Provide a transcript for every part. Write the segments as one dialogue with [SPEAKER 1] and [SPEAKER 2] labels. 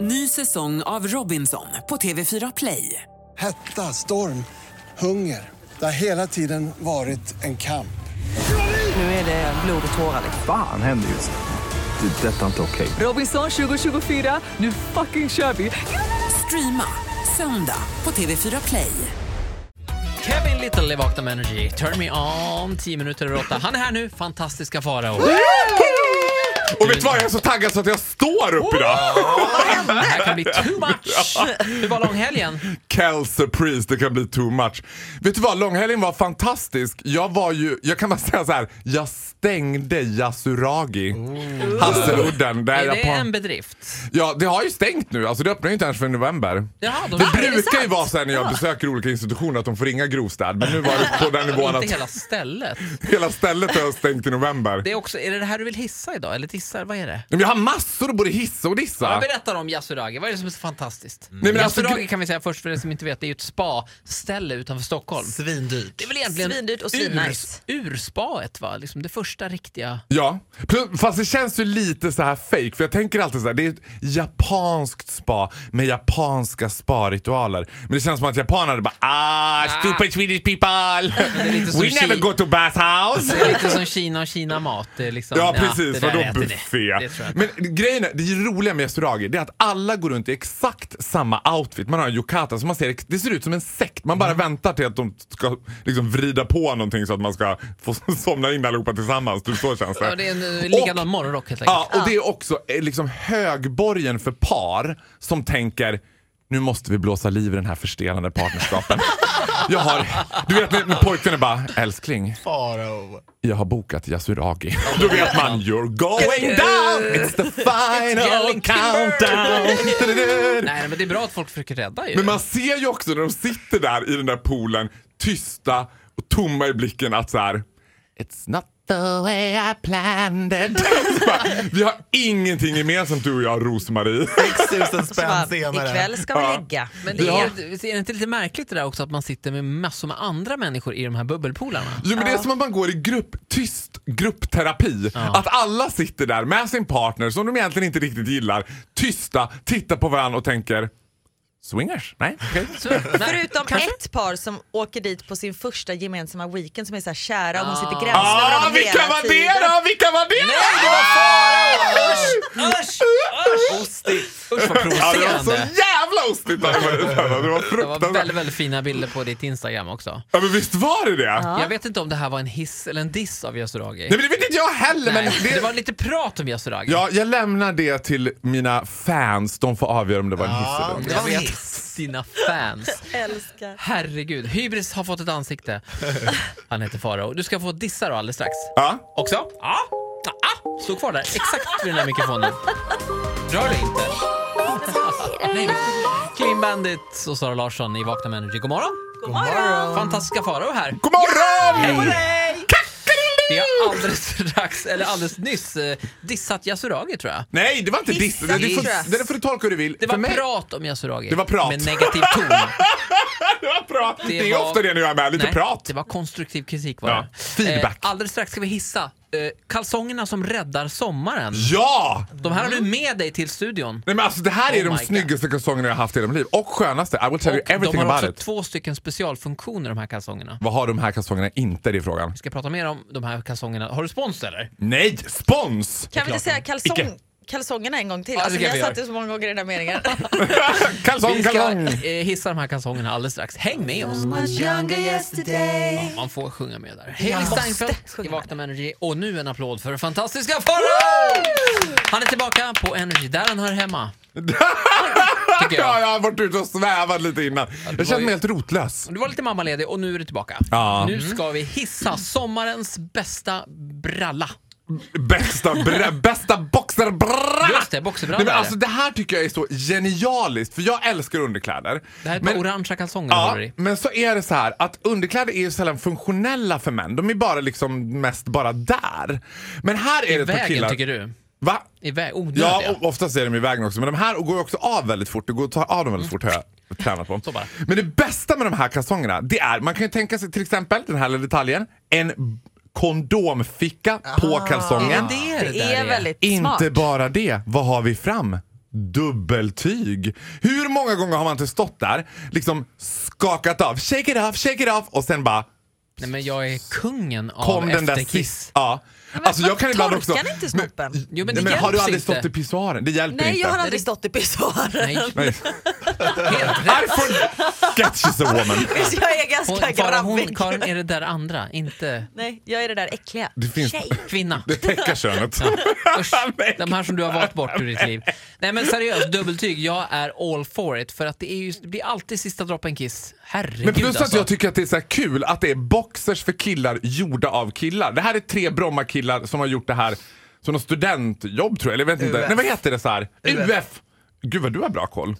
[SPEAKER 1] Ny säsong av Robinson på TV4 Play.
[SPEAKER 2] Hetta, storm, hunger. Det har hela tiden varit en kamp.
[SPEAKER 1] Nu är det blod och tårar. liksom.
[SPEAKER 3] Fan händer just nu. Det. är Detta är inte okej.
[SPEAKER 1] Robinson 2024, nu fucking kör vi! Streama söndag på TV4 Play.
[SPEAKER 4] Kevin Little i Vakna med Energy. Turn me on, 10 minuter över 8. Han är här nu, fantastiska Farao.
[SPEAKER 5] Och vet du vad, jag är så taggad så att jag står upp idag!
[SPEAKER 4] Det här kan bli too much. Hur var långhelgen?
[SPEAKER 5] Kelsey Priest, det kan bli too much. Vet du vad, långhelgen var fantastisk. Jag var ju, jag kan bara säga så här, jag stängde Yasuragi. Hasseludden. Där
[SPEAKER 4] Mm.
[SPEAKER 5] jag
[SPEAKER 4] Är det
[SPEAKER 5] på,
[SPEAKER 4] en bedrift?
[SPEAKER 5] Ja, det har ju stängt nu. Alltså det öppnar ju inte ens för november.
[SPEAKER 4] Jaha, de-
[SPEAKER 5] det
[SPEAKER 4] Ah, är det
[SPEAKER 5] brukar ju
[SPEAKER 4] sant?
[SPEAKER 5] vara så här när jag
[SPEAKER 4] Ja.
[SPEAKER 5] besöker olika institutioner att de får ringa grovstäd. Men nu var det på den nivån att
[SPEAKER 4] Inte hela stället.
[SPEAKER 5] hela stället har stängt i november.
[SPEAKER 4] Det är, också, är det det här du vill hissa idag? Eller dissar? Vad är det?
[SPEAKER 5] Men jag har massor att både hissa och dissa.
[SPEAKER 4] Ja. Berätta om Yasuragi, vad är det som är så fantastiskt?
[SPEAKER 5] Nej, men alltså,
[SPEAKER 4] Yasuragi
[SPEAKER 5] gre-
[SPEAKER 4] kan vi säga först för den som inte vet, det är ju ett spa-ställe utanför Stockholm. Svindyrt. Det är väl egentligen
[SPEAKER 6] Svindyrt och svinnice.
[SPEAKER 4] ur, urspaet va? Liksom det första riktiga.
[SPEAKER 5] Ja, Plus- fast det känns ju lite så här fake för jag tänker alltid så här, det är ett japanskt spa med japanska sparitualer. Men det känns som att japanerna bara ah, stupid Swedish people!
[SPEAKER 4] Det är lite som
[SPEAKER 5] We never
[SPEAKER 4] Ki-
[SPEAKER 5] go to bathhouse!
[SPEAKER 4] Det är lite som Kina och Kina-mat. det är Liksom,
[SPEAKER 5] Ja precis,
[SPEAKER 4] det där
[SPEAKER 5] vadå
[SPEAKER 4] äter ni.
[SPEAKER 5] buffé?
[SPEAKER 4] Det tror jag inte.
[SPEAKER 5] Men grejen är, det roliga med Yasuragi det är att alla går runt i exakt samma outfit. Man har en yukata så man ser, det ser ut som en sekt. Man
[SPEAKER 4] Mm.
[SPEAKER 5] bara väntar till att de ska liksom vrida på någonting så att man ska få somna in allihopa tillsammans. Typ så känns det.
[SPEAKER 4] Ja, det är en eh,
[SPEAKER 5] Och-
[SPEAKER 4] likadan morgonrock helt enkelt.
[SPEAKER 5] Ja, och det är också eh, liksom högborgen för par som tänker nu måste vi blåsa liv i den här förstelande partnerskapen. Jag har, du vet när, när pojken är bara älskling,
[SPEAKER 7] Faro.
[SPEAKER 5] jag har bokat Yasuragi. Då vet man you're going down, it's the final
[SPEAKER 4] getting
[SPEAKER 5] countdown.
[SPEAKER 4] Nej, men det är bra att folk försöker rädda ju.
[SPEAKER 5] Men man ser ju också när de sitter där i den där poolen, tysta och tomma i blicken att så här. It's not the way I planned it. Så bara, Vi har ingenting gemensamt du och jag, Rosmarie.
[SPEAKER 7] 6000
[SPEAKER 6] Så bara,
[SPEAKER 7] spänn senare.
[SPEAKER 6] Ikväll ska vi ligga.
[SPEAKER 4] Men det är,
[SPEAKER 5] Ja.
[SPEAKER 4] är det inte lite märkligt det där också att man sitter med massor med andra människor i de här bubbelpoolarna?
[SPEAKER 5] Jo, men det är som att man går i grupp, tyst gruppterapi. Att alla sitter där med sin partner som de egentligen inte riktigt gillar, tysta, tittar på varandra och tänker swingers? Nej, okej.
[SPEAKER 4] Så, nej.
[SPEAKER 6] Förutom ett par som åker dit på sin första gemensamma weekend som är så här kära och hon sitter gränslös över
[SPEAKER 5] Ah,
[SPEAKER 6] dem
[SPEAKER 5] vilka
[SPEAKER 6] hela
[SPEAKER 5] var
[SPEAKER 6] tiden.
[SPEAKER 5] det då? Vilka var det? Nej, det var
[SPEAKER 4] Usch, usch,
[SPEAKER 5] Ja, det
[SPEAKER 4] usch vad
[SPEAKER 5] var så
[SPEAKER 4] provocerande.
[SPEAKER 5] jävla ostigt! när det var uttalat. Det var
[SPEAKER 4] Det var väldigt,
[SPEAKER 5] fruktansvärt.
[SPEAKER 4] väldigt fina bilder på ditt Instagram också.
[SPEAKER 5] Ja, men visst var det det?
[SPEAKER 4] Jag vet inte om det här var en hiss eller en diss av Yasuragi.
[SPEAKER 5] Nej, men det vet inte jag heller. Men
[SPEAKER 4] Nej,
[SPEAKER 5] det,
[SPEAKER 4] det... var lite prat om Yasuragi.
[SPEAKER 5] ja, jag lämnar det till mina fans. De får avgöra om det var en hiss eller inte.
[SPEAKER 4] Jag vet. Dina fans.
[SPEAKER 6] Älskar.
[SPEAKER 4] Herregud, hybris har fått ett ansikte. Han heter Farao. Du ska få dissa då alldeles strax.
[SPEAKER 5] Ja.
[SPEAKER 4] Också? Ja. Ah, stå kvar där, exakt vid den där mikrofonen. Rör dig inte. Nej. Clean Bandit och Sara Larsson i Vakna med Energy. God morgon.
[SPEAKER 6] God morgon.
[SPEAKER 4] Fantastiska Farao här.
[SPEAKER 5] God morgon!
[SPEAKER 4] Vi har alldeles strax, eller alldeles nyss, eh, dissat Yasuragi tror jag.
[SPEAKER 5] Nej, det var inte diss.
[SPEAKER 6] Hissa,
[SPEAKER 5] Det, det, får,
[SPEAKER 6] tror jag.
[SPEAKER 5] det får du tolka hur du vill.
[SPEAKER 4] Det
[SPEAKER 5] För
[SPEAKER 4] var
[SPEAKER 5] mig-
[SPEAKER 4] prat om Yasuragi.
[SPEAKER 5] Det var prat.
[SPEAKER 4] Med negativ ton.
[SPEAKER 5] Det var prat. Det, är
[SPEAKER 4] var-
[SPEAKER 5] ofta det när jag är med. Lite
[SPEAKER 4] Nej,
[SPEAKER 5] prat.
[SPEAKER 4] Det var konstruktiv kritik var
[SPEAKER 5] Ja,
[SPEAKER 4] det.
[SPEAKER 5] feedback.
[SPEAKER 4] Eh, alldeles strax ska vi hissa eh, kalsongerna som räddar sommaren.
[SPEAKER 5] Ja!
[SPEAKER 4] De här har du med dig till studion.
[SPEAKER 5] Nej, men alltså, det här är
[SPEAKER 4] Oh
[SPEAKER 5] de
[SPEAKER 4] my God.
[SPEAKER 5] snyggaste kalsongerna jag har haft i hela mitt liv. Och skönaste. I will tell you
[SPEAKER 4] Och de
[SPEAKER 5] everything
[SPEAKER 4] har
[SPEAKER 5] about
[SPEAKER 4] också
[SPEAKER 5] it.
[SPEAKER 4] två stycken specialfunktioner de här kalsongerna.
[SPEAKER 5] Vad har de här kalsongerna inte? Det är frågan.
[SPEAKER 4] Vi ska prata mer om de här kalsongerna. Har du spons eller?
[SPEAKER 5] Nej, spons!
[SPEAKER 6] Kan vi inte säga
[SPEAKER 5] Icke.
[SPEAKER 6] kalsong, kalsongerna en gång till?
[SPEAKER 4] Ja,
[SPEAKER 6] Alltså,
[SPEAKER 4] det
[SPEAKER 6] vi
[SPEAKER 4] kan
[SPEAKER 6] har
[SPEAKER 4] vi
[SPEAKER 6] sagt det så många gånger i den här meningen.
[SPEAKER 5] Kalsong,
[SPEAKER 4] Vi ska
[SPEAKER 5] kalsong!
[SPEAKER 4] eh, hissa de här kalsongerna alldeles strax. Häng med oss!
[SPEAKER 5] Eh.
[SPEAKER 4] Ja, man får sjunga med där. Heli Steinfeldt i
[SPEAKER 6] sjunga
[SPEAKER 4] Vakna med Energy. Och nu en applåd för fantastiska Farao! Han är tillbaka på Energy, där han hör hemma. Tycker jag.
[SPEAKER 5] Ja, jag har varit ute och svävat lite innan. Jag
[SPEAKER 4] var
[SPEAKER 5] känner
[SPEAKER 4] ju-
[SPEAKER 5] mig helt rotlös.
[SPEAKER 4] Du var lite mammaledig och nu är du tillbaka.
[SPEAKER 5] Ja. Mm.
[SPEAKER 4] Nu ska vi hissa sommarens bästa bralla.
[SPEAKER 5] Bästa, br- bästa boxerbralla!
[SPEAKER 4] Just det, boxerbralla
[SPEAKER 5] Nej, men
[SPEAKER 4] är
[SPEAKER 5] alltså, det här tycker jag är så genialiskt, för jag älskar underkläder.
[SPEAKER 4] Det här är ett
[SPEAKER 5] Men-
[SPEAKER 4] par orangea kalsonger du
[SPEAKER 5] Ja,
[SPEAKER 4] håller i.
[SPEAKER 5] men så är det så här att underkläder är ju sällan funktionella för män. De är bara liksom mest bara där. Men här är det
[SPEAKER 4] I
[SPEAKER 5] ett par
[SPEAKER 4] vägen
[SPEAKER 5] killar...
[SPEAKER 4] tycker du?
[SPEAKER 5] Va?
[SPEAKER 4] I vä- oh, onödiga?
[SPEAKER 5] Ja, och oftast är de i vägen också. Men de här går ju också av väldigt fort. Det går att ta av dem väldigt fort har jag tränat på.
[SPEAKER 4] Så bara.
[SPEAKER 5] Men det bästa med de här kalsongerna, det är, man kan ju tänka sig till exempel, den här lilla detaljen, en kondomficka på kalsongen.
[SPEAKER 4] Men det är det,
[SPEAKER 6] Ah. Det
[SPEAKER 4] där
[SPEAKER 6] är väldigt smart.
[SPEAKER 5] Inte bara det, vad har vi fram? dubbeltyg. Hur många gånger har man inte stått där, liksom skakat av, shake it off, shake it off och sen bara
[SPEAKER 4] Nej men jag är kungen av
[SPEAKER 5] kom den där
[SPEAKER 4] efterkiss.
[SPEAKER 5] sist. Ja. Alltså jag kan ibland också...
[SPEAKER 6] torkar ni inte snoppen?
[SPEAKER 4] Jo, men
[SPEAKER 5] Nej,
[SPEAKER 4] det
[SPEAKER 5] men har du
[SPEAKER 4] hjälps
[SPEAKER 5] aldrig
[SPEAKER 4] inte.
[SPEAKER 5] stått i pissoaren? Det hjälper
[SPEAKER 6] Nej,
[SPEAKER 5] inte.
[SPEAKER 6] jag har aldrig stått i pissoaren.
[SPEAKER 4] Nej,
[SPEAKER 5] Nej.
[SPEAKER 4] helt rätt.
[SPEAKER 5] I forget she's a woman.
[SPEAKER 6] Visst, jag är
[SPEAKER 4] Hon,
[SPEAKER 6] ganska
[SPEAKER 4] Farah, hon,
[SPEAKER 6] grabbig.
[SPEAKER 4] Karin är det där andra, inte
[SPEAKER 6] Nej, jag är det där äckliga.
[SPEAKER 5] Det finns-
[SPEAKER 6] Tjej.
[SPEAKER 4] kvinna.
[SPEAKER 5] Det täcker könet.
[SPEAKER 4] Usch, de här som du har valt bort ur ditt liv. Nej men seriöst, dubbeltyg. Jag är all for it. För att det, är ju, det blir alltid sista droppen kiss. Herregud
[SPEAKER 5] Men plus att
[SPEAKER 4] alltså.
[SPEAKER 5] jag tycker att det är så här kul att det är boxers för killar gjorda av killar. Det här är tre Bromma-killar som har gjort det här som något studentjobb tror jag. Eller jag vet inte.
[SPEAKER 7] UF.
[SPEAKER 5] Nej vad heter det så här?
[SPEAKER 7] UF.
[SPEAKER 5] UF. Gud vad du har bra koll.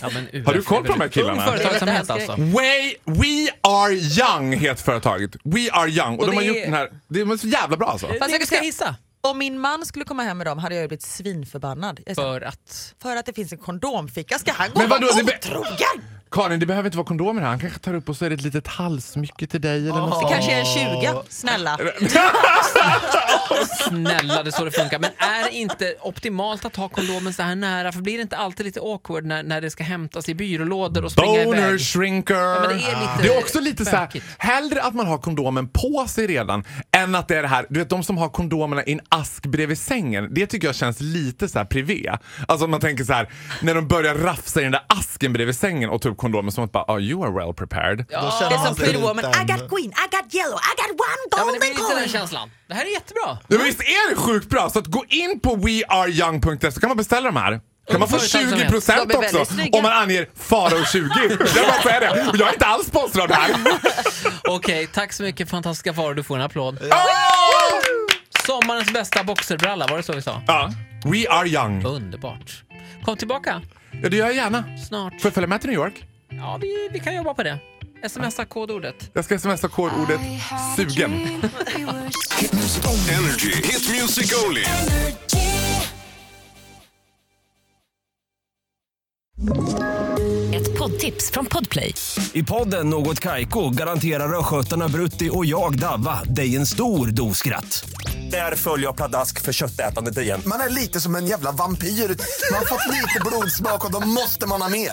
[SPEAKER 4] Ja, men UF
[SPEAKER 5] Har du koll på
[SPEAKER 4] är väl
[SPEAKER 5] de här killarna?
[SPEAKER 4] Ung företagsamhet alltså.
[SPEAKER 5] Way, we are young heter företaget. We are young. Och,
[SPEAKER 4] Och
[SPEAKER 5] de har
[SPEAKER 4] det
[SPEAKER 5] gjort
[SPEAKER 4] är-
[SPEAKER 5] den här. Det är så jävla bra alltså.
[SPEAKER 4] Fast jag ska hissa.
[SPEAKER 6] Om min man skulle komma hem med dem hade jag ju blivit svinförbannad. Jag sa,
[SPEAKER 4] För att...
[SPEAKER 6] För att det finns en kondomficka ska han gå
[SPEAKER 5] Men
[SPEAKER 6] och vara
[SPEAKER 5] vadå, det be-
[SPEAKER 6] otrogen?
[SPEAKER 5] Karin det behöver inte vara kondomer här. Han kanske tar upp och så är det ett litet halsmycke till dig eller något
[SPEAKER 6] Det
[SPEAKER 5] sånt.
[SPEAKER 6] kanske är en 20, snälla.
[SPEAKER 4] Snälla, det är så det funkar. Men är det inte optimalt att ha kondomen så här nära? För blir det inte alltid lite awkward när, när det ska hämtas i byrålådor och springa
[SPEAKER 5] Boner
[SPEAKER 4] iväg?
[SPEAKER 5] shrinker.
[SPEAKER 4] men det är lite
[SPEAKER 5] Det är också lite så här,
[SPEAKER 4] bökigt.
[SPEAKER 5] hellre att man har kondomen på sig redan än att det är det här, du vet de som har kondomerna i en ask bredvid sängen. Det tycker jag känns lite så här privé. Alltså om man tänker så här, när de börjar rafsa i den där asken bredvid sängen och ta upp kondomen som att bara, oh, you are well prepared.
[SPEAKER 7] Då känner
[SPEAKER 6] Det är
[SPEAKER 7] man
[SPEAKER 6] som
[SPEAKER 7] sig
[SPEAKER 6] Pretty
[SPEAKER 7] lite
[SPEAKER 6] Woman, I got green, I got yellow, I got one
[SPEAKER 4] Ja, men det
[SPEAKER 6] golden
[SPEAKER 4] blir lite den
[SPEAKER 6] coin.
[SPEAKER 4] känslan. Det här är jättebra.
[SPEAKER 5] Ja, men visst är det sjukt bra? Så att gå in på weareyoung.se så kan man beställa de här. Kan man få
[SPEAKER 4] Företagsamhet.
[SPEAKER 5] 20%
[SPEAKER 6] De är väldigt
[SPEAKER 5] också
[SPEAKER 6] snygga.
[SPEAKER 5] om man anger Farao20? jag bara säger det. Och Jag är inte alls sponsrad här.
[SPEAKER 4] Okej, tack så mycket fantastiska faror. Du får en applåd.
[SPEAKER 5] Åh!
[SPEAKER 4] Sommarens bästa boxerbralla, var det så vi sa?
[SPEAKER 5] Ja. We are young.
[SPEAKER 4] Underbart. Kom tillbaka
[SPEAKER 5] Ja, det gör jag gärna.
[SPEAKER 4] snart.
[SPEAKER 5] Får jag följa med till New York?
[SPEAKER 4] Ja, vi, vi kan jobba på det. Smsa kodordet.
[SPEAKER 5] Jag ska smsa kodordet SUGEN.
[SPEAKER 8] Energy. Hit music only.
[SPEAKER 9] Ett poddtips från Podplay.
[SPEAKER 7] I podden Något Kaiko garanterar östgötarna Brutti och jag, Davva, dig en stor dos skratt. Där följer jag pladask för köttätandet igen.
[SPEAKER 10] Man är lite som en jävla vampyr. Man har fått lite blodsmak och då måste man ha mer.